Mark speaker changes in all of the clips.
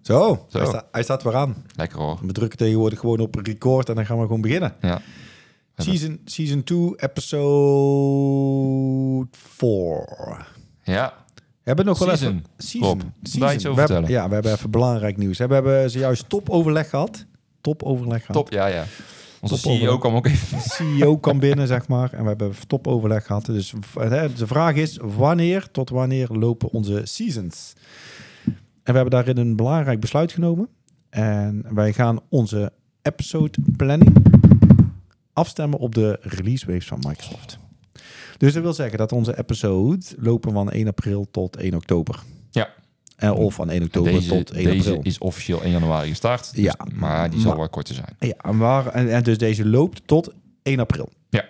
Speaker 1: Zo,
Speaker 2: Zo.
Speaker 1: Hij, sta- hij staat weer aan.
Speaker 2: Lekker hoor.
Speaker 1: We drukken tegenwoordig gewoon op record en dan gaan we gewoon beginnen.
Speaker 2: Ja.
Speaker 1: Season 2, season two, episode 4.
Speaker 2: Ja.
Speaker 1: We hebben nog wel
Speaker 2: Season,
Speaker 1: even...
Speaker 2: Rob. Daar iets over
Speaker 1: we hebben,
Speaker 2: vertellen.
Speaker 1: ja, we hebben even belangrijk nieuws. We hebben zojuist topoverleg gehad. Topoverleg gehad.
Speaker 2: Top, ja, ja. Onze
Speaker 1: Top over.
Speaker 2: CEO kwam ook even.
Speaker 1: De CEO E kan binnen, zeg maar. En we hebben topoverleg gehad. Dus v- hè, de vraag is, wanneer tot wanneer lopen onze seasons? En we hebben daarin een belangrijk besluit genomen. En wij gaan onze episode planning afstemmen op de release waves van Microsoft. Dus dat wil zeggen dat onze episodes lopen van 1 april tot 1 oktober.
Speaker 2: Ja.
Speaker 1: Eh, of van 1 oktober
Speaker 2: Deze,
Speaker 1: tot 1
Speaker 2: deze
Speaker 1: april.
Speaker 2: is officieel 1 januari gestart. dus-
Speaker 1: Ja,
Speaker 2: maar die zal
Speaker 1: maar-
Speaker 2: wel korter zijn. Dus
Speaker 1: Ja, en waar, en, en dus deze loopt tot 1 april.
Speaker 2: Ja.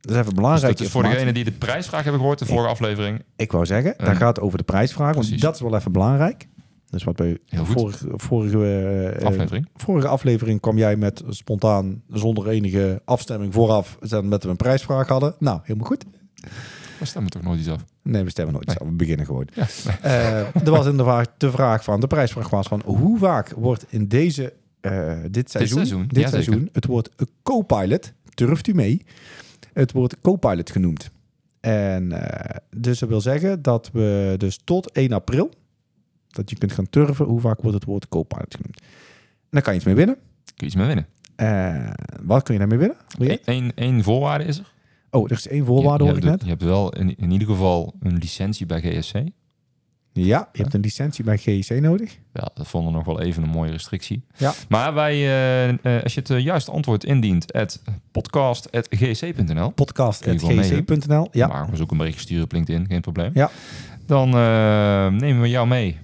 Speaker 1: Dat is even
Speaker 2: Dus
Speaker 1: belangrijk.
Speaker 2: dat is voor degenen die de prijsvraag hebben gehoord, de vorige aflevering.
Speaker 1: Ik wou zeggen, daar
Speaker 2: Eh,
Speaker 1: gaat over de prijsvraag, want
Speaker 2: precies.
Speaker 1: dat is wel even belangrijk. Dus wat bij
Speaker 2: Heel goed.
Speaker 1: vorige, vorige, eh,
Speaker 2: Aflevering.
Speaker 1: vorige aflevering kwam jij met spontaan, zonder enige afstemming vooraf, zetten dat we een prijsvraag hadden. Nou, helemaal goed.
Speaker 2: We stemmen toch nooit iets af.
Speaker 1: Nee, we stemmen nooit.
Speaker 2: Nee.
Speaker 1: zo. We beginnen gewoon.
Speaker 2: Ja.
Speaker 1: Eh, er was in de vraag, de vraag van, de prijsvraag was van, hoe vaak wordt in deze, eh, dit seizoen,
Speaker 2: seizoen,
Speaker 1: dit
Speaker 2: ja, zeker.
Speaker 1: seizoen het woord co-pilot, durft u mee, het woord co-pilot genoemd. En eh, dus dat wil zeggen dat we dus tot 1 april, dat je kunt gaan turven, hoe vaak wordt het woord co-pilot genoemd. En daar kan je iets mee winnen.
Speaker 2: Kun je iets mee winnen.
Speaker 1: Eh, wat kun je daarmee winnen? Wil je-
Speaker 2: Eén één voorwaarde is er.
Speaker 1: Oh, er is één voorwaarde
Speaker 2: je,
Speaker 1: hoor
Speaker 2: je
Speaker 1: ik
Speaker 2: hebt,
Speaker 1: net.
Speaker 2: je hebt wel in, in ieder geval een licentie bij GSC.
Speaker 1: Ja, je hebt een licentie bij GEC nodig.
Speaker 2: Ja, dat vonden we nog wel even een mooie restrictie.
Speaker 1: Ja.
Speaker 2: Maar wij, eh, eh, als je het eh, juiste antwoord indient, at podcast.gsc.nl. Kun je wel
Speaker 1: podcast.gc.nl. Ja,
Speaker 2: Maar we zoeken een berichtje sturen op LinkedIn, geen probleem.
Speaker 1: Ja.
Speaker 2: Dan eh, nemen we jou mee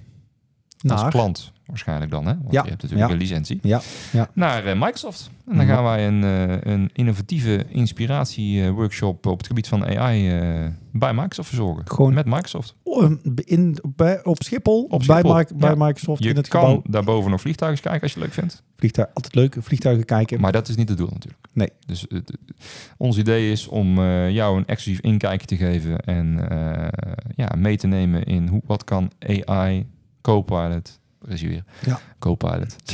Speaker 2: als
Speaker 1: naar.
Speaker 2: klant waarschijnlijk dan, hè? Want
Speaker 1: Ja,
Speaker 2: je hebt natuurlijk
Speaker 1: ja.
Speaker 2: een licentie.
Speaker 1: Ja, ja. Mhm.
Speaker 2: Naar eh, Microsoft. En dan
Speaker 1: Ja.
Speaker 2: gaan wij een, eh, een innovatieve inspiratie-workshop op het gebied van AI eh, bij Microsoft verzorgen.
Speaker 1: Gewoon-
Speaker 2: Met Microsoft.
Speaker 1: Oh, in, bij, op Schiphol,
Speaker 2: Schiphol,
Speaker 1: Bij, Mi- bij
Speaker 2: ja.
Speaker 1: Microsoft
Speaker 2: Je
Speaker 1: in het
Speaker 2: kan
Speaker 1: gebouw.
Speaker 2: daarboven nog vliegtuigen kijken als je het leuk vindt.
Speaker 1: Vliegtuig, altijd leuk, vliegtuigen kijken.
Speaker 2: Maar dat is niet het doel natuurlijk.
Speaker 1: Nee.
Speaker 2: Dus eh, d- ons idee is om eh, jou een exclusief inkijkje te geven en eh, ja, mee te nemen in hoe, wat kan AI, Copilot, daar is hij weer,
Speaker 1: Ja.
Speaker 2: Copilot,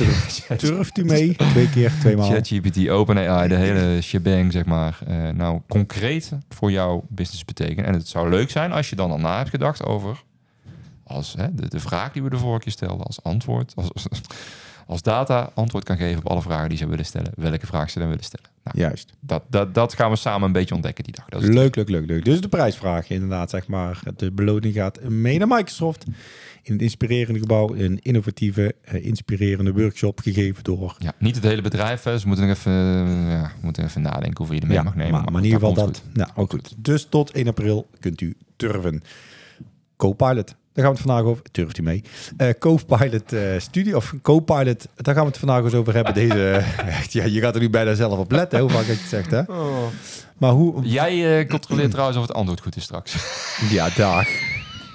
Speaker 1: Turft u mee? Twee keer, tweemaal.
Speaker 2: ChatGPT, OpenAI, de hele shebang zeg maar, eh, nou concreet voor jouw business betekenen. En het zou leuk zijn als je dan al na hebt gedacht over als, hè, de, de vraag die we de vorige keer stelden als antwoord, als, als, als data antwoord kan geven op alle vragen die ze willen stellen, welke vraag ze dan willen stellen. Nou,
Speaker 1: Juist.
Speaker 2: dat, dat, dat gaan we samen een beetje ontdekken die dag. Dat is het.
Speaker 1: Leuk, leuk, leuk, leuk. Dus de prijsvraag inderdaad, zeg maar. De beloning gaat mee naar Microsoft. In het inspirerende gebouw. Een innovatieve, eh, inspirerende workshop gegeven door...
Speaker 2: ja, niet het hele bedrijf, hè. dus we moeten nog even, eh, ja, we moeten even nadenken hoeveel je ermee mag nemen.
Speaker 1: maar, maar in ieder geval
Speaker 2: komt
Speaker 1: dat. Nou, ook goed. Dus tot 1 april kunt u turven. Copilot. Daar gaan we het vandaag over. Turft u mee? Eh Copilot eh studie of Copilot. Daar gaan we het vandaag eens over hebben. Deze. eh, echt, ja, je gaat er nu bijna zelf op letten. Hoe vaak ik het zeg, hè? Maar hoe.
Speaker 2: goed. Jij eh, controleert trouwens of het antwoord goed is straks.
Speaker 1: Ja, dag.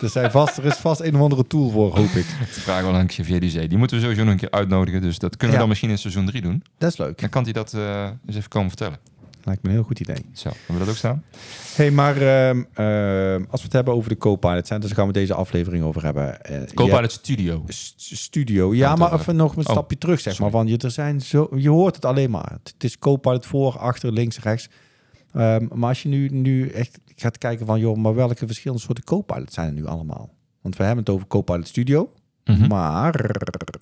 Speaker 1: Er, zijn vast, er is vast een of andere tool voor, hoop ik.
Speaker 2: Ik vraag wel aan Xavier Duzé. Die moeten we sowieso nog een keer uitnodigen. Dus dat kunnen we
Speaker 1: Ja.
Speaker 2: dan misschien in seizoen 3 doen.
Speaker 1: Dat is leuk.
Speaker 2: Dan kan hij dat eh, eens even komen vertellen.
Speaker 1: Lijkt me een heel goed idee.
Speaker 2: Zo, hebben we dat ook staan?
Speaker 1: hey, maar ehm, ehm, als we het hebben over de Copilot Centers, daar gaan we deze aflevering over hebben. Eh, je
Speaker 2: Koop uit het studio.
Speaker 1: st- studio. Ja,
Speaker 2: dat
Speaker 1: maar
Speaker 2: wel.
Speaker 1: even nog een
Speaker 2: Oh,
Speaker 1: stapje terug, zeg
Speaker 2: sorry.
Speaker 1: maar. Want je, er zijn zo, je hoort het alleen maar. Het, het is co-pilot voor, achter, links, rechts. Ehm, maar als je nu, nu echt gaat kijken van... joh, maar welke verschillende soorten co-pilot zijn er nu allemaal? Want we hebben het over co-pilot studio.
Speaker 2: Mhm.
Speaker 1: Maar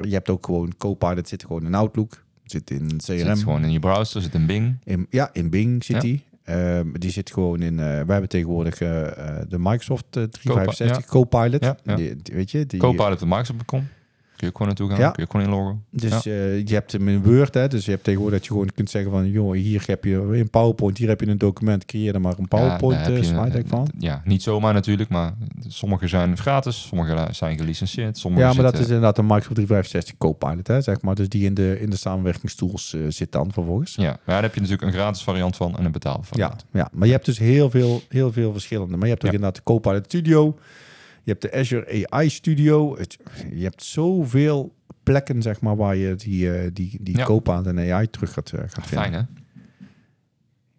Speaker 1: je hebt ook gewoon co-pilot zit gewoon in Outlook. Zit in
Speaker 2: Zit het
Speaker 1: CRM.
Speaker 2: gewoon in je browser, zit in Bing.
Speaker 1: In, ja, in Bing zit
Speaker 2: Ja.
Speaker 1: die. Ehm, die zit gewoon in... eh wij hebben tegenwoordig eh, eh, de Microsoft eh, 365 Copilot.
Speaker 2: Ja, ja.
Speaker 1: Die- die- weet je? Die,
Speaker 2: Koop uit op Microsoft.com. Kun je ook gewoon naartoe gaan,
Speaker 1: Ja.
Speaker 2: kun je ook gewoon inloggen.
Speaker 1: Dus
Speaker 2: Ja.
Speaker 1: eh, je hebt hem in Word, hè, dus je hebt tegenwoordig dat je gewoon kunt zeggen van, joh, hier heb je een PowerPoint, hier heb je een document, creëer er maar een
Speaker 2: Ja,
Speaker 1: PowerPoint
Speaker 2: daar
Speaker 1: eh
Speaker 2: heb je-
Speaker 1: slide deck van.
Speaker 2: Ja, niet zomaar natuurlijk, maar sommige zijn gratis, sommige zijn gelicenseerd, sommige
Speaker 1: Ja, maar dat is
Speaker 2: zitten-
Speaker 1: inderdaad een Microsoft 365 Copilot, hè, zeg maar. Dus die in de, in de samenwerkingstools eh, zit dan vervolgens.
Speaker 2: Ja, maar daar heb je natuurlijk een gratis variant van en een betaalde
Speaker 1: Ja,
Speaker 2: variant.
Speaker 1: ja, maar je hebt dus heel veel, heel veel verschillende. Maar je hebt ook
Speaker 2: Ja.
Speaker 1: inderdaad de Copilot Studio, je hebt de Azure AI Studio. Het, je hebt zoveel plekken, zeg maar, waar je die, eh, die, die
Speaker 2: Ja.
Speaker 1: Copilot en AI terug gaat, eh, gaat vinden.
Speaker 2: Fijn, hè?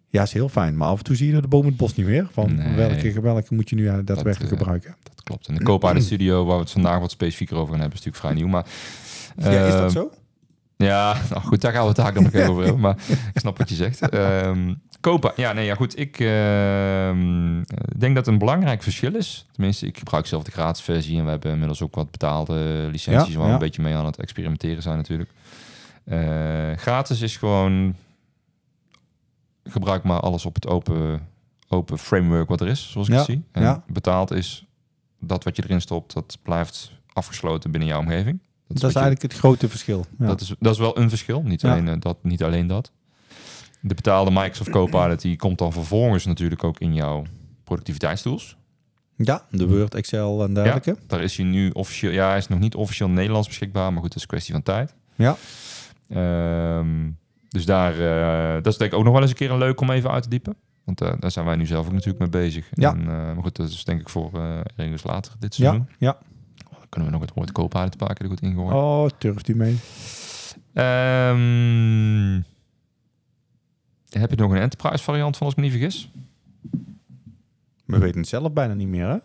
Speaker 1: Ja, is heel fijn. Maar af en toe zie je de boom in het bos niet meer. Van
Speaker 2: Nee.
Speaker 1: welke, welke moet je nu aan- daadwerkelijk
Speaker 2: eh,
Speaker 1: gebruiken?
Speaker 2: Dat klopt. En de Copilot Studio, waar we het vandaag wat specifieker over gaan hebben, is natuurlijk vrij nieuw. Maar,
Speaker 1: ja, is
Speaker 2: eh,
Speaker 1: dat zo?
Speaker 2: Ja, nou goed, daar gaan we het daar dan nog even over hebben. Maar ik snap wat je zegt. Ehm Copa, ja, nee, ja, goed. Ik ehm, denk dat een belangrijk verschil is. Tenminste, ik gebruik zelf de gratis versie en we hebben inmiddels ook wat betaalde licenties
Speaker 1: Ja,
Speaker 2: waar we
Speaker 1: ja.
Speaker 2: een beetje mee aan het experimenteren zijn natuurlijk. Eh, gratis is gewoon gebruik maar alles op het open, open framework wat er is, zoals ik
Speaker 1: Ja,
Speaker 2: het zie. En
Speaker 1: ja.
Speaker 2: betaald is dat wat je erin stopt, dat blijft afgesloten binnen jouw omgeving.
Speaker 1: Dat is,
Speaker 2: wat je-
Speaker 1: eigenlijk het grote verschil. Ja.
Speaker 2: dat, is, dat is wel een verschil. Niet,
Speaker 1: Ja.
Speaker 2: alleen, eh, dat, niet alleen dat. De betaalde Microsoft Copilot die komt dan vervolgens natuurlijk ook in jouw productiviteitstools.
Speaker 1: ja, de Word, Excel en dergelijke.
Speaker 2: Daar is hij nu officieel, ja, hij is nog niet officieel Nederlands beschikbaar, maar goed, dat is een kwestie van tijd.
Speaker 1: Ja.
Speaker 2: Ehm, dus daar, eh, dat is denk ik ook nog wel eens een keer een leuk om even uit te diepen. Want eh, daar zijn wij nu zelf ook natuurlijk mee bezig.
Speaker 1: Ja.
Speaker 2: En, eh, maar goed, dat is denk ik voor eh ergens later dit
Speaker 1: Ja,
Speaker 2: seizoen.
Speaker 1: ja.
Speaker 2: Oh, dan kunnen we nog het woord Copilot een paar keer er goed ingooien.
Speaker 1: Oh, durft u mee?
Speaker 2: Ehm, heb je nog een enterprise variant van, als ik me niet vergis?
Speaker 1: We weten het zelf bijna niet meer, hè?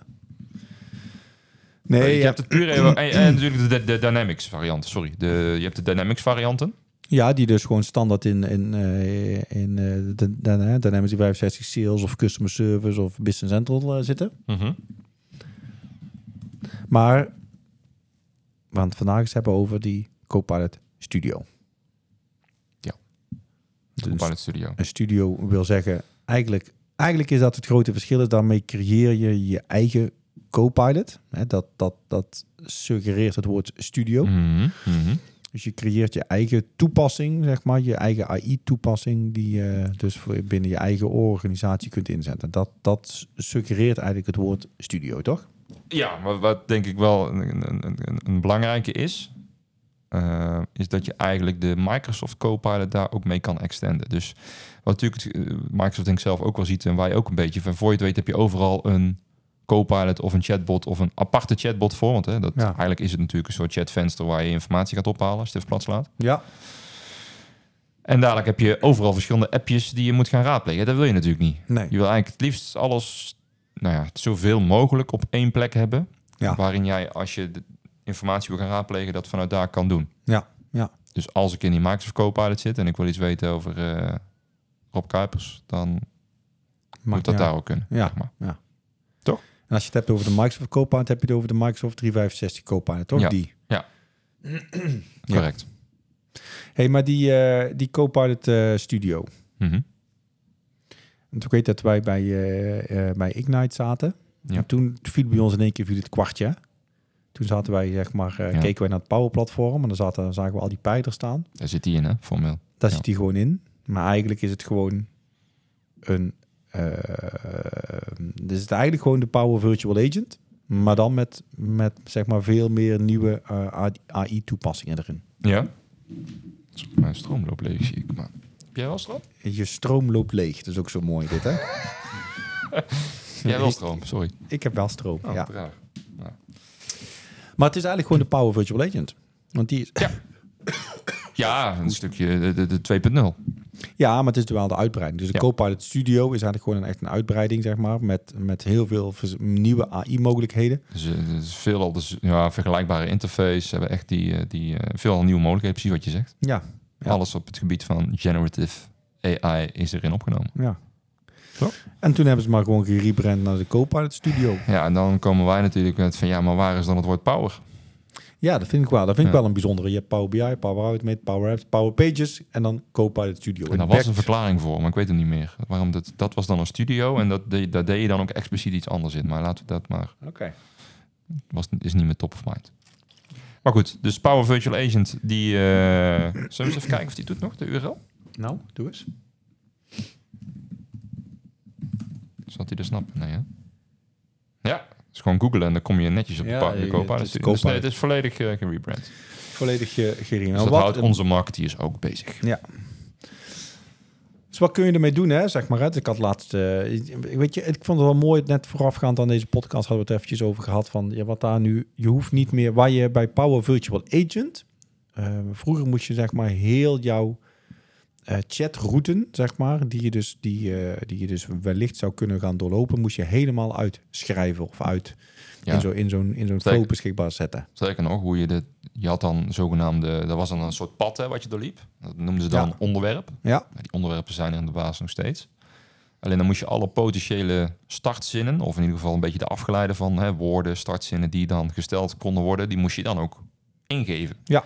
Speaker 1: Nee,
Speaker 2: Eh, je
Speaker 1: ja,
Speaker 2: hebt het puur en, en- en natuurlijk de, de Dynamics variant. Sorry, de, je hebt de Dynamics varianten.
Speaker 1: ja, die dus gewoon standaard in, in, eh, in eh, de, de, de Dynamics 365 Sales of Customer Service of Business Central eh, zitten. Maar, want vandaag is het hebben over die Copilot Studio.
Speaker 2: Ja.
Speaker 1: Dus
Speaker 2: Copilot Studio.
Speaker 1: een studio wil zeggen, eigenlijk, eigenlijk is dat het grote verschil. Is daarmee creëer je je eigen Copilot. Hè, dat, dat, dat suggereert het woord studio.
Speaker 2: Mhm, mhm.
Speaker 1: Dus je creëert je eigen toepassing, zeg maar. Je eigen AI-toepassing die je dus voor binnen je eigen organisatie kunt inzetten. Dat, dat suggereert eigenlijk het woord studio, toch?
Speaker 2: Ja, maar wat denk ik wel een, een, een, een belangrijke is, eh, is dat je eigenlijk de Microsoft Copilot daar ook mee kan extenden. Dus wat natuurlijk het, eh, Microsoft denk ik zelf ook wel ziet en wij ook een beetje van voor je het weet heb je overal een Copilot of een chatbot of een aparte chatbot voor. Want hè, dat,
Speaker 1: Ja.
Speaker 2: eigenlijk is het natuurlijk een soort chatvenster waar je informatie gaat ophalen als je het even plat slaat.
Speaker 1: Ja.
Speaker 2: En dadelijk heb je overal verschillende appjes die je moet gaan raadplegen. Dat wil je natuurlijk niet.
Speaker 1: Nee.
Speaker 2: Je wil eigenlijk het liefst alles, nou ja, zoveel mogelijk op één plek hebben.
Speaker 1: Ja.
Speaker 2: Waarin jij, als je de informatie wil gaan raadplegen, dat vanuit daar kan doen.
Speaker 1: Ja, ja.
Speaker 2: Dus als ik in die Microsoft Copilot zit en ik wil iets weten over eh, Rob Kuipers, dan moet dat
Speaker 1: ja.
Speaker 2: daar ook kunnen.
Speaker 1: Ja.
Speaker 2: zeg maar.
Speaker 1: En als je het hebt over de Microsoft Copilot, heb je het over de Microsoft 365 Copilot, toch?
Speaker 2: Ja.
Speaker 1: Die. Ja.
Speaker 2: Correct.
Speaker 1: hey, maar die, eh, die Copilot eh, Studio.
Speaker 2: Mhm.
Speaker 1: Want ik weet dat wij bij, eh, eh, bij Ignite zaten.
Speaker 2: Ja.
Speaker 1: En toen viel bij ons in één keer viel het kwartje. Toen zaten wij, zeg maar, eh,
Speaker 2: Ja.
Speaker 1: keken wij naar het powerplatform. En dan zaten, zagen we al die pijlers staan.
Speaker 2: Daar zit die in, hè, formeel.
Speaker 1: Daar
Speaker 2: Ja.
Speaker 1: zit hij gewoon in. Maar eigenlijk is het gewoon een... eh dus het is eigenlijk gewoon de Power Virtual Agent. Maar dan met, met zeg maar, veel meer nieuwe eh, AI-toepassingen erin.
Speaker 2: Ja. Zo, Mijn stroom loopt leeg, zie ik. Maar... Heb jij wel stroom?
Speaker 1: Je stroom loopt leeg. Dat is ook zo mooi dit, hè?
Speaker 2: Jij wel stroom, sorry.
Speaker 1: Ik heb wel stroom,
Speaker 2: Oh,
Speaker 1: ja.
Speaker 2: raar.
Speaker 1: Maar het is eigenlijk gewoon de Power Virtual Agent. Want die is,
Speaker 2: Ja, een stukje de, de, de 2.0.
Speaker 1: Ja, maar het is wel de uitbreiding. Dus de
Speaker 2: Ja.
Speaker 1: Copilot Studio is eigenlijk gewoon een, echt een uitbreiding, zeg maar, met, met heel veel vers- nieuwe AI-mogelijkheden.
Speaker 2: Dus eh, het is veelal dus, ja, vergelijkbare interface. Ze hebben echt die, eh, die eh, veelal nieuwe mogelijkheden, precies wat je zegt.
Speaker 1: Ja, Ja.
Speaker 2: Alles op het gebied van generative AI is erin opgenomen.
Speaker 1: ja.
Speaker 2: Zo.
Speaker 1: En toen hebben ze maar gewoon gerebrand naar de Copilot Studio.
Speaker 2: Ja, en dan komen wij natuurlijk met van ja, maar waar is dan het woord power?
Speaker 1: Ja, dat vind ik wel. Dat vind ik
Speaker 2: Ja.
Speaker 1: wel een bijzondere. Je hebt Power BI, Power Automate, Power Apps, Power Pages en dan Copilot Studio.
Speaker 2: En daar
Speaker 1: het
Speaker 2: was een
Speaker 1: werkt-
Speaker 2: verklaring voor, maar ik weet het niet meer. Waarom dat, dat was dan een studio en dat, deed- daar deed je dan ook expliciet iets anders in. Maar laten we dat maar,
Speaker 1: Oké.
Speaker 2: was, is niet meer top of mind. Maar goed, dus Power Virtual Agent, die... eh zullen we eens even kijken of die doet nog, de URL?
Speaker 1: Nou, doe eens.
Speaker 2: Zal hij dat snappen? Nee, hè? Ja, dus gewoon googlen en dan kom je netjes op de
Speaker 1: Ja,
Speaker 2: pa- de
Speaker 1: je-
Speaker 2: Copilot.
Speaker 1: het is
Speaker 2: Dus nee,
Speaker 1: Copilot.
Speaker 2: het is volledig eh gerebrand. Dus
Speaker 1: Volledig eh, gerebrand.
Speaker 2: dat
Speaker 1: Wat
Speaker 2: houdt
Speaker 1: een-
Speaker 2: onze marketeers ook bezig.
Speaker 1: Dus wat kun je ermee doen, hè? Zeg maar, hè? Dus Ik had laatst, eh, weet je, ik vond het wel mooi. Net voorafgaand aan deze podcast hadden we het eventjes over gehad van, ja, wat daar nu, je hoeft niet meer, waar je bij Power Virtual Agent, eh, vroeger moest je zeg maar heel jouw eh, chatrouten, zeg maar, die je, dus, die, eh, die je dus wellicht zou kunnen gaan doorlopen, moest je helemaal uitschrijven of uit
Speaker 2: Ja.
Speaker 1: in zo'n in zo'n in zo'n
Speaker 2: Zeker.
Speaker 1: flow beschikbaar zetten.
Speaker 2: Sterker nog, hoe je de, je had dan zogenaamde, dat was dan een soort pad hè, wat je doorliep. Dat noemden ze dan
Speaker 1: Ja.
Speaker 2: onderwerp.
Speaker 1: Ja.
Speaker 2: Nou, Die onderwerpen zijn er in de basis nog steeds. Alleen dan moest je alle potentiële startzinnen, of in ieder geval een beetje de afgeleide van hè, woorden, startzinnen die dan gesteld konden worden, die moest je dan ook ingeven.
Speaker 1: Ja.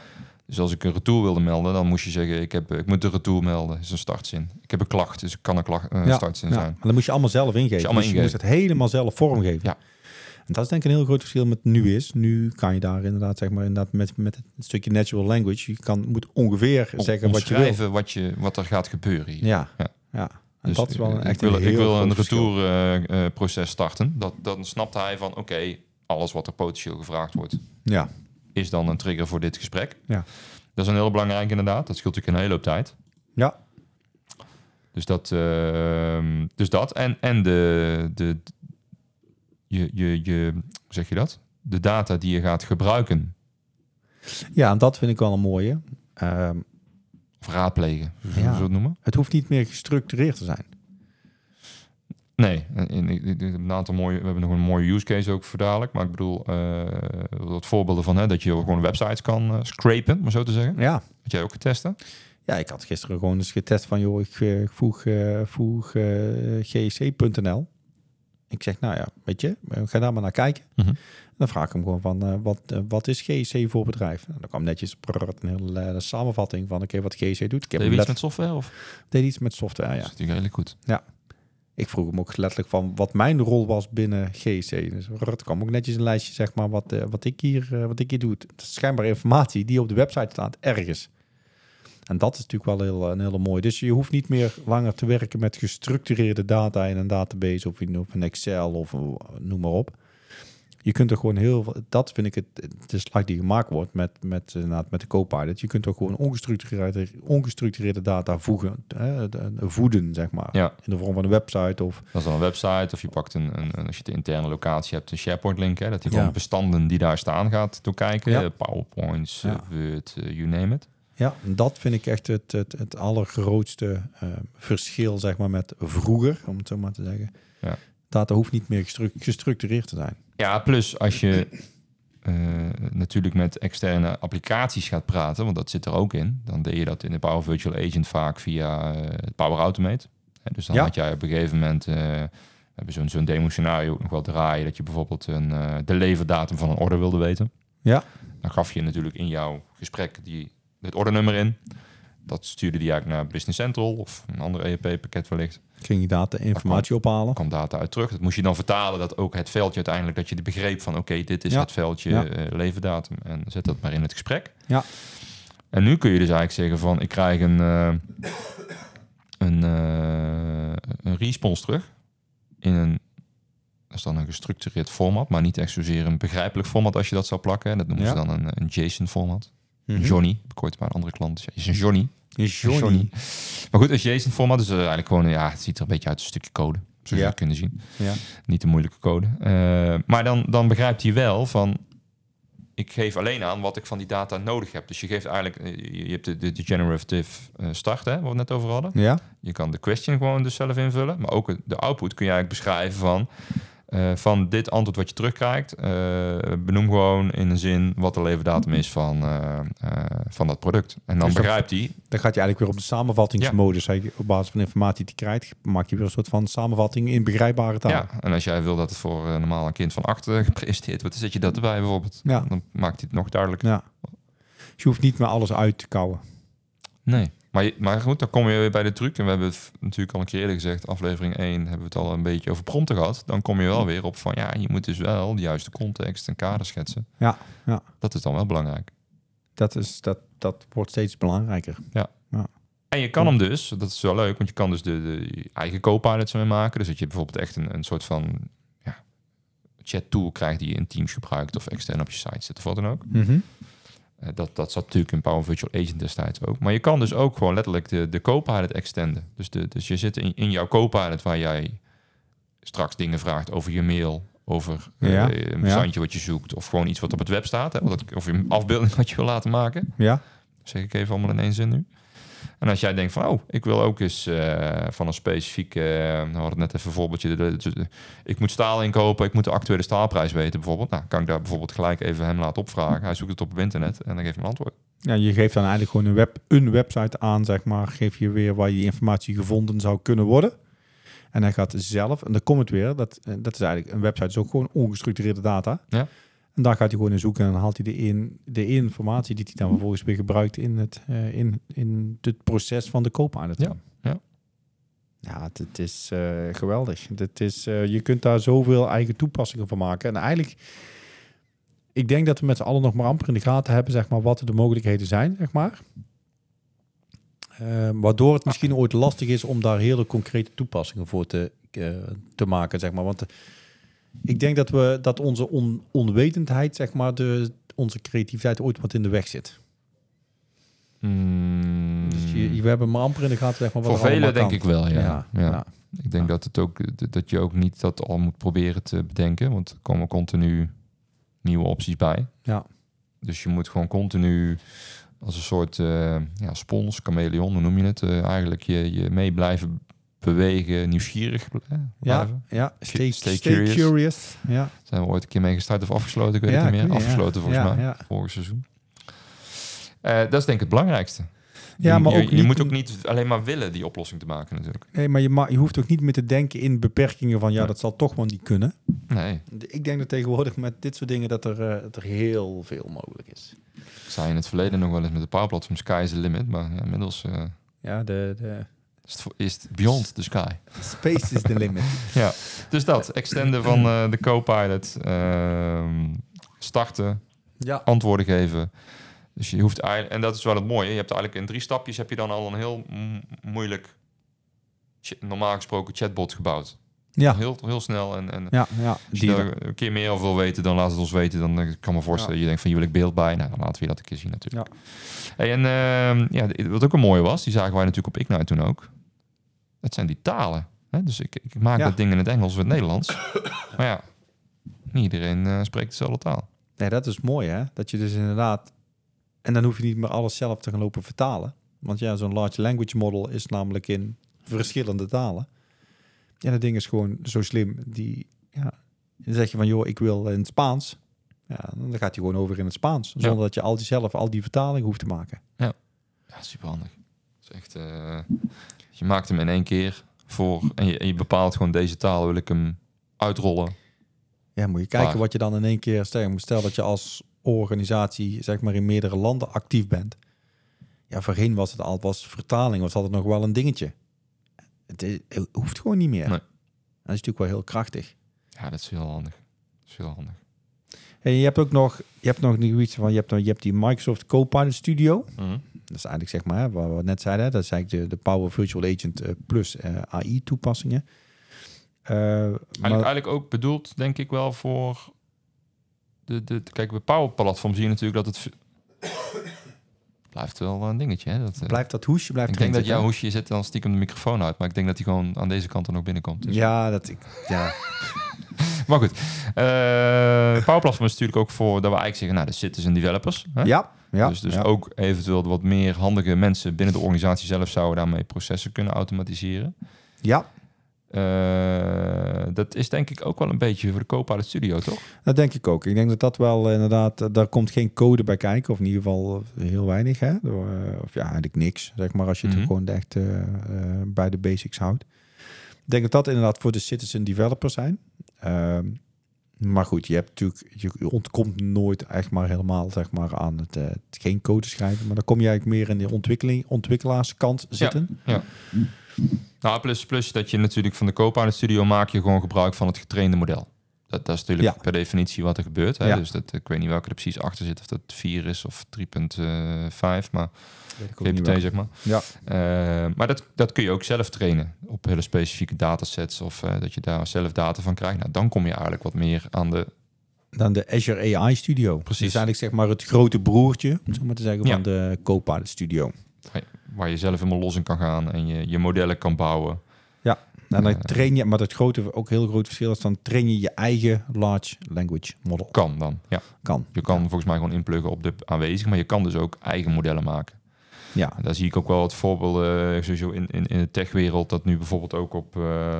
Speaker 2: Dus als ik een retour wilde melden, dan moest je zeggen, ik, heb, ik moet een retour melden, dat is een startzin. Ik heb een klacht, dus ik kan een, klacht, een
Speaker 1: ja.
Speaker 2: startzin
Speaker 1: ja.
Speaker 2: zijn.
Speaker 1: Maar dan moest je allemaal zelf ingeven.
Speaker 2: Moest je allemaal
Speaker 1: dus je moest het helemaal zelf vormgeven.
Speaker 2: Ja.
Speaker 1: En dat is denk ik een heel groot verschil met nu is. Nu kan je daar inderdaad, zeg maar, inderdaad met, met het stukje natural language. Je kan, moet ongeveer
Speaker 2: Om-
Speaker 1: zeggen wat je wil.
Speaker 2: omschrijven wat, je, wat er gaat gebeuren hier.
Speaker 1: Ja.
Speaker 2: Ja.
Speaker 1: ja. En
Speaker 2: Dus
Speaker 1: dat is wel
Speaker 2: ik-
Speaker 1: een, echt
Speaker 2: ik wil
Speaker 1: een
Speaker 2: een, ik
Speaker 1: heel
Speaker 2: wil
Speaker 1: groot
Speaker 2: een
Speaker 1: verschil.
Speaker 2: retourproces starten. Dat, dan snapt hij van oké, alles wat er potentieel gevraagd wordt,
Speaker 1: Ja.
Speaker 2: is dan een trigger voor dit gesprek.
Speaker 1: Ja.
Speaker 2: Dat is een heel belangrijk inderdaad. Dat scheelt natuurlijk een hele hoop tijd.
Speaker 1: Ja.
Speaker 2: Dus dat, ehm, dus dat. En, en de, de je, je, je, hoe zeg je dat? De data die je gaat gebruiken
Speaker 1: ja, en dat vind ik wel een mooie. Ehm,
Speaker 2: of raadplegen, zullen we
Speaker 1: Ja.
Speaker 2: zo het noemen?
Speaker 1: het hoeft niet meer gestructureerd te zijn.
Speaker 2: Nee, en- en ik- ik- een aantal mooie, we hebben nog een mooie use case ook voor dadelijk. Maar ik bedoel, eh wat voorbeelden van hè, dat je gewoon websites kan eh, scrapen, maar zo te zeggen.
Speaker 1: Ja.
Speaker 2: Had jij ook getesten?
Speaker 1: Ja, ik had gisteren gewoon eens getest van, joh, ik eh, voeg, eh, voeg eh, gec.nl. Ik zeg, nou ja, weet je, eh, ga daar maar naar kijken.
Speaker 2: Mhm.
Speaker 1: En dan vraag ik hem gewoon van, eh, wat, eh, wat is GEC voor bedrijf? Nou, dan kwam netjes prrr, een hele eh, samenvatting van, oké, wat GEC doet. Ik heb
Speaker 2: Deed je
Speaker 1: hem
Speaker 2: iets
Speaker 1: let-
Speaker 2: met software? Of?
Speaker 1: deed iets met software,
Speaker 2: Dat
Speaker 1: ja.
Speaker 2: is natuurlijk redelijk goed.
Speaker 1: Ik vroeg hem ook letterlijk van wat mijn rol was binnen GEC. Dus prrr, er kwam ook netjes een lijstje, zeg maar, wat, eh, wat, ik, hier, eh, wat ik hier doe. Het is schijnbaar informatie die op de website staat, ergens. En dat is natuurlijk wel heel, een hele mooi. Dus je hoeft niet meer langer te werken met gestructureerde data in een database of in of een Excel of eh, noem maar op. Je kunt er gewoon heel veel, dat vind ik het, de slag die gemaakt wordt met, met, eh, inderdaad, met de Copilot. Je kunt ook gewoon ongestructureerde, ongestructureerde data voegen, eh, de- voeden, zeg maar.
Speaker 2: Ja.
Speaker 1: In de vorm van een website of
Speaker 2: Dat is dan een website of je pakt een, een, een- als je de interne locatie hebt, een SharePoint link. Hè, dat je
Speaker 1: Ja.
Speaker 2: gewoon bestanden die daar staan gaat doorkijken.
Speaker 1: Ja.
Speaker 2: Eh, PowerPoints, eh,
Speaker 1: Ja.
Speaker 2: Word, eh, you name it.
Speaker 1: Ja, en dat vind ik echt het, het, het allergrootste eh, verschil zeg maar, met vroeger, om het zo maar te zeggen.
Speaker 2: Ja.
Speaker 1: Data hoeft niet meer gestru- gestructureerd te zijn.
Speaker 2: Ja, plus als je eh, natuurlijk met externe applicaties gaat praten, want dat zit er ook in, dan deed je dat in de Power Virtual Agent vaak via eh, Power Automate. Hè, dus dan
Speaker 1: Ja.
Speaker 2: had jij op een gegeven moment, eh, we hebben zo'n zo'n demo scenario ook nog wel draaien, dat je bijvoorbeeld een, eh, de leverdatum van een order wilde weten.
Speaker 1: Ja.
Speaker 2: Dan gaf je natuurlijk in jouw gesprek die, het ordernummer in. Dat stuurde die eigenlijk naar Business Central of een ander E ERP-pakket wellicht
Speaker 1: Ging je data informatie ophalen?
Speaker 2: kwam data uit terug. Dat moest je dan vertalen dat ook het veldje uiteindelijk, dat je begreep van oké, dit is
Speaker 1: Ja.
Speaker 2: het veldje
Speaker 1: Ja.
Speaker 2: eh, leverdatum en zet dat maar in het gesprek.
Speaker 1: Ja.
Speaker 2: En nu kun je dus eigenlijk zeggen van ik krijg een, eh, een, eh, een response terug in een, dat is dan een gestructureerd format, maar niet echt zozeer een begrijpelijk format als je dat zou plakken. hè. Dat noemen ze
Speaker 1: Ja.
Speaker 2: dan een, een JSON format.
Speaker 1: Mhm.
Speaker 2: Johnny, heb ik ooit bij een andere klant. dus ja, is een Johnny.
Speaker 1: Johnny.
Speaker 2: Johnny. Maar goed, een JSON format is eh, eigenlijk gewoon, ja, het ziet er een beetje uit een stukje code. Zoals je
Speaker 1: Ja.
Speaker 2: dat kunnen zien.
Speaker 1: Ja.
Speaker 2: Niet de moeilijke code. Eh, maar dan, dan begrijpt hij wel van... Ik geef alleen aan wat ik van die data nodig heb. Dus je geeft eigenlijk... eh, Je je hebt de, de, de generative eh, start, hè, waar we het net over hadden.
Speaker 1: Ja,
Speaker 2: Je kan de question gewoon dus zelf invullen. Maar ook de output kun je eigenlijk beschrijven van... eh, van dit antwoord wat je terugkrijgt, eh, benoem gewoon in een zin wat de leverdatum is van, eh, eh, van dat product. En dan
Speaker 1: Dus dat-
Speaker 2: begrijpt hij,
Speaker 1: dan gaat je eigenlijk weer op de samenvattingsmodus. Hij- Op basis van informatie die je krijgt, maak je weer een soort van samenvatting in begrijpbare taal.
Speaker 2: Ja, en als jij wil dat het voor eh, normaal een kind van acht eh, gepresenteerd wordt, dan zet je dat erbij bijvoorbeeld.
Speaker 1: Ja.
Speaker 2: Dan maakt hij het nog duidelijker.
Speaker 1: Ja. Dus je hoeft niet meer alles uit te kouwen.
Speaker 2: Nee. Maar, je- maar goed, dan kom je weer bij de truc. En we hebben het v- natuurlijk al een keer eerder gezegd, aflevering 1 hebben we het al een beetje over prompten gehad. Dan kom je wel weer op van, ja, je moet dus wel de juiste context en kader schetsen.
Speaker 1: Ja, ja.
Speaker 2: Dat is dan wel belangrijk.
Speaker 1: Dat, is, dat, dat wordt steeds belangrijker.
Speaker 2: En je kan hem dus, dat is wel leuk, want je kan dus de, de je eigen co-pilot mee maken. Dus dat je bijvoorbeeld echt een, een soort van ja, chat tool krijgt die je in Teams gebruikt of extern op je site zet of wat dan ook.
Speaker 1: Mhm.
Speaker 2: Eh, Dat, dat zat natuurlijk in Power Virtual Agent destijds ook. Maar je kan dus ook gewoon letterlijk de, de Copilot extenden. Dus, de, dus je zit in, in jouw Copilot waar jij straks dingen vraagt over je mail, over eh,
Speaker 1: Ja,
Speaker 2: een
Speaker 1: ja.
Speaker 2: bestandje wat je zoekt, of gewoon iets wat op het web staat, hè, wat het- of een afbeelding wat je wil laten maken.
Speaker 1: Ja,
Speaker 2: zeg ik even allemaal in één zin nu. En als jij denkt van, oh, ik wil ook eens eh, van een specifieke... eh, we hadden net even een voorbeeldje. de- de- de- ik moet staal inkopen, ik moet de actuele staalprijs weten bijvoorbeeld. Nou, kan ik daar bijvoorbeeld gelijk even hem laten opvragen. Hij zoekt het op op internet en dan geeft hij een antwoord.
Speaker 1: Ja, je geeft dan eigenlijk gewoon een, web, een website aan, zeg maar. Geef je weer waar je informatie gevonden zou kunnen worden. En hij gaat zelf, en dan komt het weer, dat, eh, dat is eigenlijk, een website is ook gewoon ongestructureerde data.
Speaker 2: Ja.
Speaker 1: En daar gaat hij gewoon in zoeken en dan haalt hij de, in, de informatie die hij dan vervolgens weer gebruikt in het, eh, in, in het proces van de koop aan het
Speaker 2: Ja, ja.
Speaker 1: Ja, het, het is eh, geweldig. Het is, eh, je kunt daar zoveel eigen toepassingen van maken. En eigenlijk ik denk dat we met z'n allen nog maar amper in de gaten hebben, zeg maar, wat de mogelijkheden zijn, zeg maar. Eh, waardoor het misschien ooit lastig is om daar hele concrete toepassingen voor te, eh, te maken, zeg maar. Want eh, ik denk dat, we, dat onze on- onwetendheid, zeg maar, de, onze creativiteit ooit wat in de weg zit.
Speaker 2: Mm,
Speaker 1: Dus je, je- we hebben maar amper in de gaten, zeg maar, wat
Speaker 2: voor
Speaker 1: er allemaal
Speaker 2: velen denk
Speaker 1: kan.
Speaker 2: ik wel, ja.
Speaker 1: Ja,
Speaker 2: Ja.
Speaker 1: ja.
Speaker 2: Ik denk
Speaker 1: Ja.
Speaker 2: dat, het ook, dat- dat je ook niet dat al moet proberen te bedenken, want er komen continu nieuwe opties bij.
Speaker 1: Ja.
Speaker 2: Dus je moet gewoon continu als een soort eh, ja, spons, chameleon, hoe noem je het, eh, eigenlijk je, je mee blijven bewegen, nieuwsgierig bl- eh,
Speaker 1: Ja,
Speaker 2: blijven.
Speaker 1: ja, stay,
Speaker 2: Stay
Speaker 1: stay
Speaker 2: curious.
Speaker 1: curious. Ja,
Speaker 2: Zijn we ooit een keer mee gestart of afgesloten? Ik weet
Speaker 1: Ja,
Speaker 2: het niet
Speaker 1: ik
Speaker 2: meer.
Speaker 1: weet het, ja.
Speaker 2: Afgesloten volgens
Speaker 1: Ja,
Speaker 2: mij,
Speaker 1: ja.
Speaker 2: vorig seizoen. Eh, dat is denk ik het belangrijkste.
Speaker 1: ja
Speaker 2: Je-
Speaker 1: maar
Speaker 2: je,
Speaker 1: ook
Speaker 2: je
Speaker 1: niet-
Speaker 2: moet ook niet alleen maar willen die oplossing te maken natuurlijk.
Speaker 1: Nee, maar je, ma- je hoeft ook niet meer te denken in beperkingen van... ja,
Speaker 2: Nee.
Speaker 1: dat zal toch wel niet kunnen.
Speaker 2: Nee,
Speaker 1: De- Ik denk dat tegenwoordig met dit soort dingen dat er, eh, dat er heel veel mogelijk is.
Speaker 2: ik zei in het verleden nog wel eens met de powerplatform Sky is the limit, maar ja, inmiddels eh,
Speaker 1: Ja, de, de
Speaker 2: is, het, vo- is het beyond the sky.
Speaker 1: space is the limit.
Speaker 2: Dus dat, extenden van eh, de co-pilot, ehm, starten,
Speaker 1: Ja,
Speaker 2: antwoorden geven. Dus je hoeft eigenlijk, en dat is wel het mooie, je hebt eigenlijk in drie stapjes heb je dan al een heel m- moeilijk, ch- normaal gesproken chatbot gebouwd.
Speaker 1: ja,
Speaker 2: Heel, heel snel en, en
Speaker 1: ja, ja.
Speaker 2: als je daar een keer meer over wil weten, dan laat het ons weten. Dan eh, kan ik me voorstellen, je denkt van, je wil ik beeld bij. Nou, dan laten we je dat een keer zien natuurlijk. Hey, en ehm, ja, wat ook een mooie was, die zagen wij natuurlijk op Ignite toen ook. Dat zijn die talen. Hè? Dus ik, ik maak
Speaker 1: Ja.
Speaker 2: dat ding in het Engels of in het Nederlands. maar ja, niet iedereen eh, spreekt dezelfde taal.
Speaker 1: Nee, dat is mooi hè. Dat je dus inderdaad... En dan hoef je niet meer alles zelf te gaan lopen vertalen. Want ja, zo'n large language model is namelijk in verschillende talen. Ja, dat ding is gewoon zo slim. Die, ja, dan zeg je van, joh, ik wil in het Spaans. Ja, dan gaat hij gewoon over in het Spaans. Zonder dat je al die zelf al die vertalingen hoeft te maken.
Speaker 2: Ja, superhandig. Dat is echt... eh, je maakt hem in één keer voor... En je, en je bepaalt gewoon deze taal wil ik hem uitrollen.
Speaker 1: Ja, moet je kijken
Speaker 2: Maar-
Speaker 1: wat je dan in één keer stel, moet stel dat je als organisatie zeg maar in meerdere landen actief bent. Ja, voorheen was het al was vertaling was altijd nog wel een dingetje. Het, is- het hoeft gewoon niet meer.
Speaker 2: Nee.
Speaker 1: Dat is natuurlijk wel heel krachtig.
Speaker 2: Ja, dat is heel handig. Dat is heel handig.
Speaker 1: En je hebt ook nog je hebt nog niet iets van je hebt je hebt die Microsoft Copilot Studio.
Speaker 2: Mhm.
Speaker 1: Dat is eigenlijk zeg maar, hè, wat we net zeiden, hè, dat is eigenlijk de, de Power Virtual Agent eh, plus eh, AI toepassingen. Eh, maar-
Speaker 2: Eigenlijk, eigenlijk ook bedoeld, denk ik wel, voor... De, de, kijk, bij Power Platform zie je natuurlijk dat het... v- blijft wel een dingetje, hè? Dat, eh,
Speaker 1: blijft dat hoesje blijft
Speaker 2: ik
Speaker 1: erin
Speaker 2: denk dat
Speaker 1: zitten, hè?
Speaker 2: jouw hoesje zet dan stiekem de microfoon uit. Maar ik denk dat hij gewoon aan deze kant dan ook binnenkomt. Dus.
Speaker 1: Ja, dat ik ja.
Speaker 2: Maar goed. eh Power Platform is natuurlijk ook voor dat we eigenlijk zeggen... Nou, er zitten dus in developers. Hè?
Speaker 1: Ja, ja.
Speaker 2: dus dus
Speaker 1: ja.
Speaker 2: ook eventueel de wat meer handige mensen binnen de organisatie zelf... zouden daarmee processen kunnen automatiseren.
Speaker 1: ja.
Speaker 2: Eh, dat is denk ik ook wel een beetje voor de koop uit de studio, toch?
Speaker 1: Dat denk ik ook. Ik denk dat dat wel eh, inderdaad, eh, daar komt geen code bij kijken, of in ieder geval eh, heel weinig. Hè? Door, eh, Of ja, eigenlijk niks, zeg maar, als je het
Speaker 2: Mhm.
Speaker 1: gewoon echt eh, eh, bij de basics houdt. Ik denk dat dat inderdaad voor de citizen developers zijn. Ehm, maar goed, je hebt natuurlijk, je ontkomt nooit echt maar helemaal zeg maar, aan het, eh, het geen code schrijven. Maar dan kom je eigenlijk meer in de ontwikkeling, ontwikkelaarskant zitten.
Speaker 2: Nou, plus, plus dat je natuurlijk van de koop aan de studio maak je gewoon gebruik van het getrainde model. Dat, dat is natuurlijk
Speaker 1: Ja.
Speaker 2: per definitie wat er gebeurt. Hè?
Speaker 1: Ja.
Speaker 2: Dus dat, ik weet niet welke er precies achter zit, of dat 4 is of 3.5, maar
Speaker 1: Weet ik ook niet
Speaker 2: GPT
Speaker 1: waar.
Speaker 2: zeg maar.
Speaker 1: Ja.
Speaker 2: Eh, maar dat, dat kun je ook zelf trainen op hele specifieke datasets of eh, dat je daar zelf data van krijgt. Nou, dan kom je eigenlijk wat meer aan de...
Speaker 1: dan de Azure AI Studio.
Speaker 2: Precies.
Speaker 1: Dus eigenlijk zeg maar het grote broertje, om zo maar te zeggen,
Speaker 2: Ja.
Speaker 1: van de Copilot Studio.
Speaker 2: waar je zelf helemaal los in kan gaan en je, je modellen kan bouwen.
Speaker 1: Nou, dan
Speaker 2: Ja.
Speaker 1: train je, maar het grote, ook heel groot verschil is, dan train je je eigen large language model.
Speaker 2: Kan dan, ja.
Speaker 1: Kan.
Speaker 2: Je kan volgens mij gewoon inpluggen op de aanwezige, maar je kan dus ook eigen modellen maken.
Speaker 1: Ja.
Speaker 2: En Daar zie ik ook wel wat voorbeelden eh, sowieso in, in, in de techwereld. Dat nu bijvoorbeeld ook op, eh,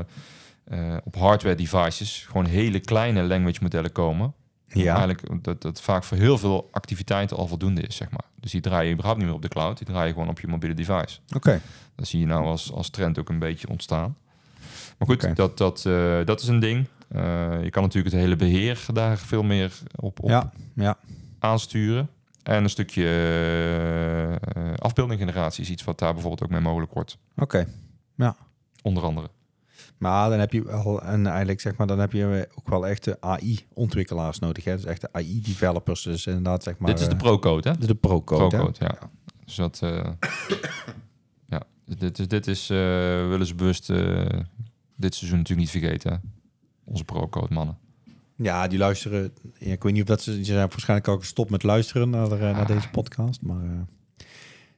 Speaker 2: eh, op hardware devices gewoon hele kleine language modellen komen.
Speaker 1: Ja.
Speaker 2: Eigenlijk dat dat vaak voor heel veel activiteiten al voldoende is, zeg maar. Dus die draai je überhaupt niet meer op de cloud. Die draai je gewoon op je mobiele device.
Speaker 1: Oké.
Speaker 2: Dat zie je nou als, als trend ook een beetje ontstaan. Maar goed,
Speaker 1: Oké.
Speaker 2: dat, dat, eh, dat is een ding. Eh, je kan natuurlijk het hele beheer daar veel meer op, op
Speaker 1: Ja. Ja.
Speaker 2: aansturen. En een stukje eh, afbeeldinggeneratie is iets wat daar bijvoorbeeld ook mee mogelijk wordt.
Speaker 1: Oké.
Speaker 2: Onder andere.
Speaker 1: Maar dan heb je al en eigenlijk zeg maar dan heb je ook wel echte AI ontwikkelaars nodig, hè? Dus echte AI developers, dus inderdaad zeg maar.
Speaker 2: Dit is de
Speaker 1: eh,
Speaker 2: pro-code, hè?
Speaker 1: de pro code.
Speaker 2: Pro-code, ja. Dus dat... eh, ja, dit is... Dit is eh, we willen ze bewust eh, dit seizoen natuurlijk niet vergeten. hè. Onze pro-code mannen.
Speaker 1: Ja, die luisteren. ja, ik weet niet of dat ze. Ze zijn waarschijnlijk al gestopt met luisteren naar, de- naar deze podcast. Maar. eh,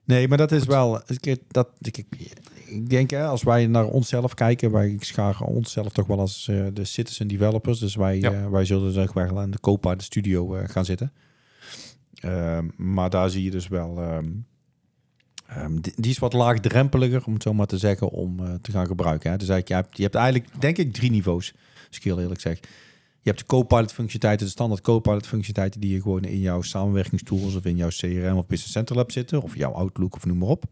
Speaker 1: nee, maar dat is wel. Ik, dat, ik, ik denk, hè, als wij naar onszelf kijken. Wij scharen onszelf toch wel als eh, de citizen developers. Dus wij,
Speaker 2: Ja.
Speaker 1: eh, wij zullen zeg maar wel in de Copa, de studio, eh, gaan zitten. Ehm, maar daar zie je dus wel. ehm, ehm, die, die is wat laagdrempeliger, om het zo maar te zeggen, om eh, te gaan gebruiken. Hè. Dus eigenlijk, je hebt, je hebt eigenlijk, denk ik, drie niveaus. Als ik heel eerlijk zeg. Je hebt de Copilot functionaliteiten, de standaard Copilot functionaliteiten die je gewoon in jouw samenwerkingstools of in jouw CRM of Business Center Lab zitten of jouw Outlook of noem maar op.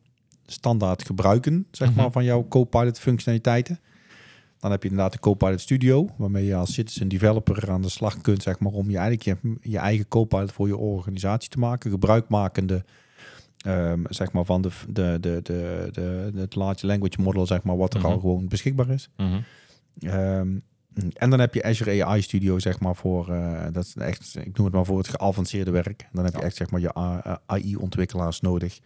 Speaker 1: Standaard gebruiken zeg maar
Speaker 2: Mhm.
Speaker 1: van jouw Copilot functionaliteiten. Dan heb je inderdaad de Copilot Studio, waarmee je als citizen developer aan de slag kunt zeg maar om je eigenlijk je, je eigen Copilot voor je organisatie te maken, gebruikmakende ehm, zeg maar van de, de, de, de, de, het large language model zeg maar wat er al
Speaker 2: Mhm.
Speaker 1: gewoon beschikbaar is. Ehm, en dan heb je Azure AI Studio, zeg maar, voor, eh, dat is echt, ik noem het maar voor het geavanceerde werk. Dan heb je
Speaker 2: Ja.
Speaker 1: echt, zeg maar, je AI-ontwikkelaars nodig.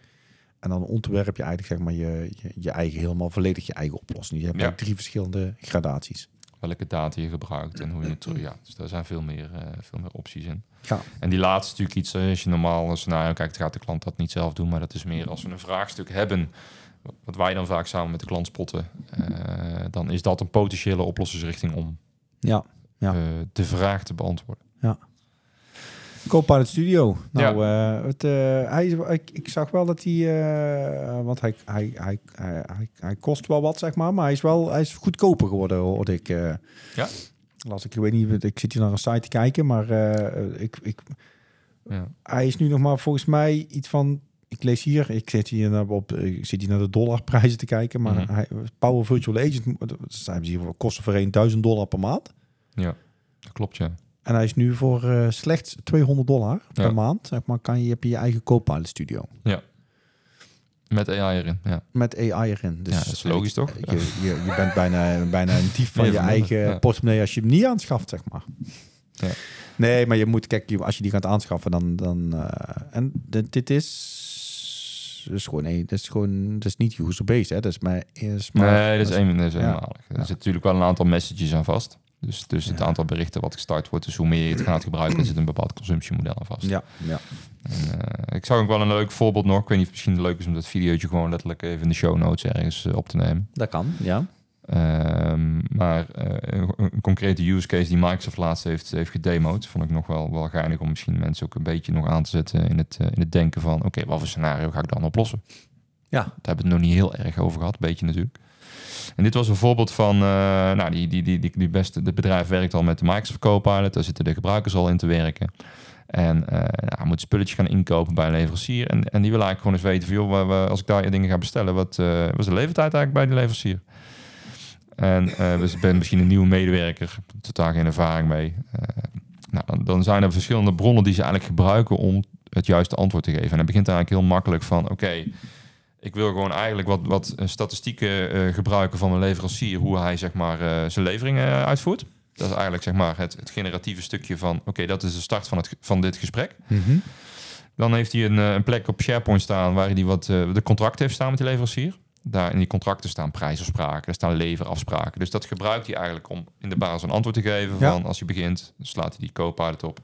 Speaker 1: En dan ontwerp je eigenlijk, zeg maar, je, je, je eigen, helemaal volledig je eigen oplossing. Je hebt
Speaker 2: Ja.
Speaker 1: eigenlijk drie verschillende gradaties.
Speaker 2: Welke data je gebruikt en hoe je het... terug- Ja, dus daar zijn veel meer, eh, veel meer opties in.
Speaker 1: Ja.
Speaker 2: En die laatste is natuurlijk iets, eh, als je normaal een scenario kijkt, gaat de klant dat niet zelf doen. Maar dat is meer als we een vraagstuk hebben, wat wij dan vaak samen met de klant spotten, eh, dan is dat een potentiële oplossingsrichting om
Speaker 1: Ja. Ja.
Speaker 2: eh, de vraag te beantwoorden.
Speaker 1: Copilot Studio. Nou, eh, het, eh, hij, is- ik, ik zag wel dat hij, eh, want hij, hij, hij, hij, hij, hij kost wel wat, zeg maar, maar hij is wel hij is goedkoper geworden, hoorde ik. eh.
Speaker 2: Ja.
Speaker 1: Las ik, ik weet niet, ik zit hier naar een site te kijken, maar eh, ik, ik,
Speaker 2: Ja.
Speaker 1: hij is nu nog maar volgens mij iets van. Ik lees hier, ik zit hier naar, op, ik zit hier naar de dollarprijzen te kijken, maar
Speaker 2: Mhm.
Speaker 1: hij, Power Virtual Agent dat zijn ze hier voor, kosten voor 1000 dollar per maand.
Speaker 2: Dat klopt, ja.
Speaker 1: En hij is nu voor eh, slechts 200 dollar
Speaker 2: Ja.
Speaker 1: per maand. Zeg maar, kan je, heb je je eigen Copilot studio
Speaker 2: Met AI erin, ja.
Speaker 1: met AI erin. Dus
Speaker 2: ja dat is logisch, toch?
Speaker 1: Je, je, je bent bijna, bijna een dief van
Speaker 2: Ja,
Speaker 1: je
Speaker 2: van de-
Speaker 1: eigen
Speaker 2: ja.
Speaker 1: portemonnee als je hem niet aanschaft, zeg maar.
Speaker 2: Ja.
Speaker 1: Nee, maar je moet, kijk, je- als je die gaat aanschaffen, dan. dan eh, en dit, dit is. Dat is gewoon, nee, dat is gewoon, dat is niet user-based, hè? Dat is maar. Is maar
Speaker 2: nee, dat is, een, dat is
Speaker 1: ja.
Speaker 2: eenmalig. Er
Speaker 1: Ja.
Speaker 2: zit natuurlijk wel een aantal messages aan vast. Dus, dus het aantal berichten wat gestart wordt, dus hoe meer je het gaat gebruiken, er zit een bepaald consumptiemodel aan vast.
Speaker 1: Ja, ja.
Speaker 2: En, eh, ik zou ook wel een leuk voorbeeld nog. Ik weet niet of het misschien leuk is om dat videootje gewoon letterlijk even in de show notes ergens eh, op te nemen.
Speaker 1: Dat kan, ja.
Speaker 2: Ehm, maar eh, een- een concrete use case die Microsoft laatst heeft, heeft gedemoed, vond ik nog wel, wel geinig om misschien mensen ook een beetje nog aan te zetten in het, eh, in het denken van, oké, wat voor scenario ga ik dan oplossen?
Speaker 1: Ja.
Speaker 2: Daar hebben we het nog niet heel erg over gehad, een beetje natuurlijk. En dit was een voorbeeld van, eh, nou, die, die, die, die, die beste, het bedrijf werkt al met de Microsoft Copilot, daar zitten de gebruikers al in te werken. En eh nou, hij moet spulletjes gaan inkopen bij een leverancier. En, en die wil eigenlijk gewoon eens weten van, joh, waar we- als ik daar dingen ga bestellen, wat eh, wat is de levertijd eigenlijk bij die leverancier? En eh dus ik ben misschien een nieuwe medewerker, totaal geen ervaring mee. Eh, nou, dan, dan zijn er verschillende bronnen die ze eigenlijk gebruiken om het juiste antwoord te geven. En dan begint eigenlijk heel makkelijk van, oké, ik wil gewoon eigenlijk wat, wat eh, statistieken eh, gebruiken van mijn leverancier, hoe hij zeg maar eh, zijn leveringen eh, uitvoert. Dat is eigenlijk zeg maar het, het generatieve stukje van, oké, dat is de start van, het, ge- van dit gesprek. Dan heeft hij een, eh, een plek op SharePoint staan waar hij wat, eh, de contracten heeft staan met de leverancier. Daar in die contracten staan prijsafspraken, er staan leverafspraken. Dus dat gebruikt hij eigenlijk om in de basis een antwoord te geven.
Speaker 1: Ja.
Speaker 2: Van als hij begint, slaat hij die co-pilot op.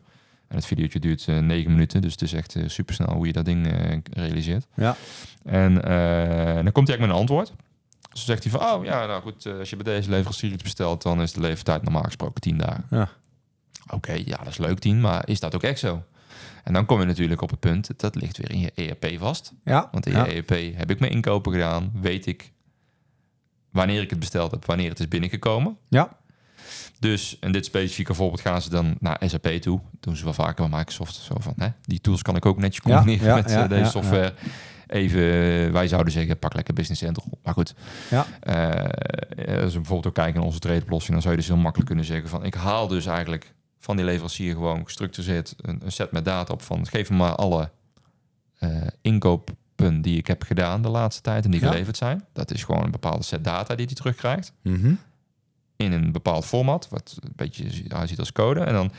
Speaker 2: En het videootje duurt eh, negen minuten, dus het is echt super supersnel hoe je dat ding eh, realiseert.
Speaker 1: Ja.
Speaker 2: En eh, dan komt hij eigenlijk met een antwoord. Dus dan zegt hij van, oh ja, nou goed, eh, als je bij deze leverancier iets bestelt, dan is de levertijd normaal gesproken 10 dagen.
Speaker 1: Ja.
Speaker 2: Oké, ja, dat is leuk 10, maar is dat ook echt zo? En En dan kom je natuurlijk op het punt, dat ligt weer in je ERP vast.
Speaker 1: Ja.
Speaker 2: Want in
Speaker 1: ja.
Speaker 2: je ERP heb ik mijn inkopen gedaan, weet ik wanneer ik het besteld heb, wanneer het is binnengekomen.
Speaker 1: Ja.
Speaker 2: Dus in dit specifieke voorbeeld gaan ze dan naar SAP toe. Doen ze wel vaker bij Microsoft. Zo van, hè, die tools kan ik ook netjes
Speaker 1: Ja,
Speaker 2: combineren
Speaker 1: ja,
Speaker 2: met eh,
Speaker 1: ja,
Speaker 2: deze
Speaker 1: ja,
Speaker 2: software. Even, eh, wij zouden zeggen, pak lekker Business Central. Maar goed,
Speaker 1: Ja.
Speaker 2: Eh, als we bijvoorbeeld ook kijken naar onze trade-oplossing... dan zou je dus heel makkelijk kunnen zeggen van... ik haal dus eigenlijk van die leverancier gewoon gestructureerd een, een set met data op van... geef me maar alle eh, inkopen die ik heb gedaan de laatste tijd en die
Speaker 1: Ja.
Speaker 2: geleverd zijn. Dat is gewoon een bepaalde set data die hij terugkrijgt
Speaker 1: Mhm.
Speaker 2: in een bepaald format, wat een beetje zi- hij ziet als code. En dan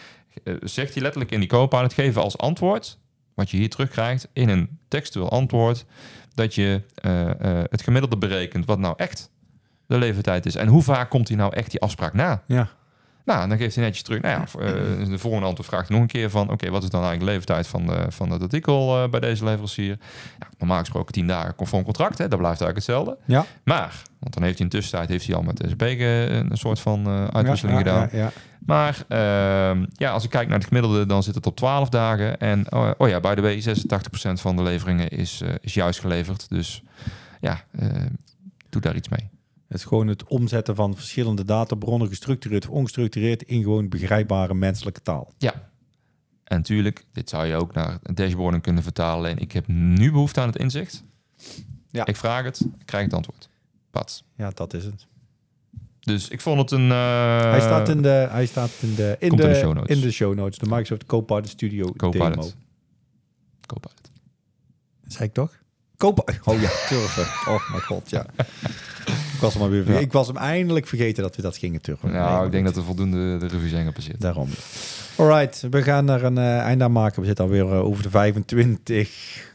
Speaker 2: eh, zegt hij letterlijk in die Copilot, geven als antwoord, wat je hier terugkrijgt, in een textueel antwoord, dat je eh, eh, het gemiddelde berekent wat nou echt de levertijd is. En hoe vaak komt hij nou echt die afspraak na?
Speaker 1: Ja.
Speaker 2: Nou, en dan geeft hij netjes terug. Nou ja, v- eh, de volgende antwoord vraagt hij nog een keer van... oké, wat is dan eigenlijk de levertijd van, de, van dat artikel eh, bij deze leverancier? Ja, normaal gesproken 10 dagen conform contract, hè, dat blijft eigenlijk hetzelfde.
Speaker 1: Ja.
Speaker 2: Maar, want dan heeft hij in de tussentijd heeft hij al met SB een soort van eh,
Speaker 1: ja,
Speaker 2: uitwisseling gedaan.
Speaker 1: Ja, ja.
Speaker 2: Maar ehm, ja, als ik kijk naar het gemiddelde, dan zit het op 12 dagen. En oh, oh ja, by the way, 86% van de leveringen is, eh, is juist geleverd. Dus ja, eh, doe daar iets mee.
Speaker 1: Het is gewoon het omzetten van verschillende databronnen, gestructureerd of ongestructureerd, in gewoon begrijpbare menselijke taal.
Speaker 2: En natuurlijk, dit zou je ook naar dashboarden kunnen vertalen. Alleen ik heb nu behoefte aan het inzicht.
Speaker 1: Ja.
Speaker 2: Ik vraag het, ik krijg het antwoord. Pat.
Speaker 1: Ja, dat is het.
Speaker 2: Dus ik vond het een... eh,
Speaker 1: hij staat in de, hij staat in de, in
Speaker 2: komt
Speaker 1: de,
Speaker 2: in de show notes.
Speaker 1: in de show notes, de Microsoft Copilot Studio
Speaker 2: Copilot.
Speaker 1: demo.
Speaker 2: Copilot.
Speaker 1: Zeg ik toch? Copilot. Oh ja, turven. Oh mijn god, ja. Ik was, hem alweer verge-
Speaker 2: Ja.
Speaker 1: ik was hem eindelijk vergeten dat we dat gingen turven. Nee,
Speaker 2: Nou,
Speaker 1: maar
Speaker 2: ik denk
Speaker 1: goed.
Speaker 2: dat er voldoende de reviews zijn gepasseerd.
Speaker 1: Daarom. Alright, we gaan er een eh, einde aan maken. We zitten alweer eh, over de 25.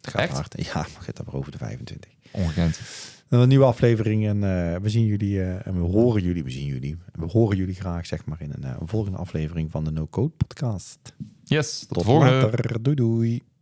Speaker 1: Het gaat
Speaker 2: Echt?
Speaker 1: hard. Ja, we zitten alweer over de 25.
Speaker 2: Ongekend.
Speaker 1: Dan een nieuwe aflevering en eh, we zien jullie eh, en we horen jullie, we zien jullie. En we horen jullie graag zeg maar in een, eh, een volgende aflevering van de No Code podcast.
Speaker 2: Yes, tot,
Speaker 1: Tot
Speaker 2: de volgende.
Speaker 1: later. Doei doei.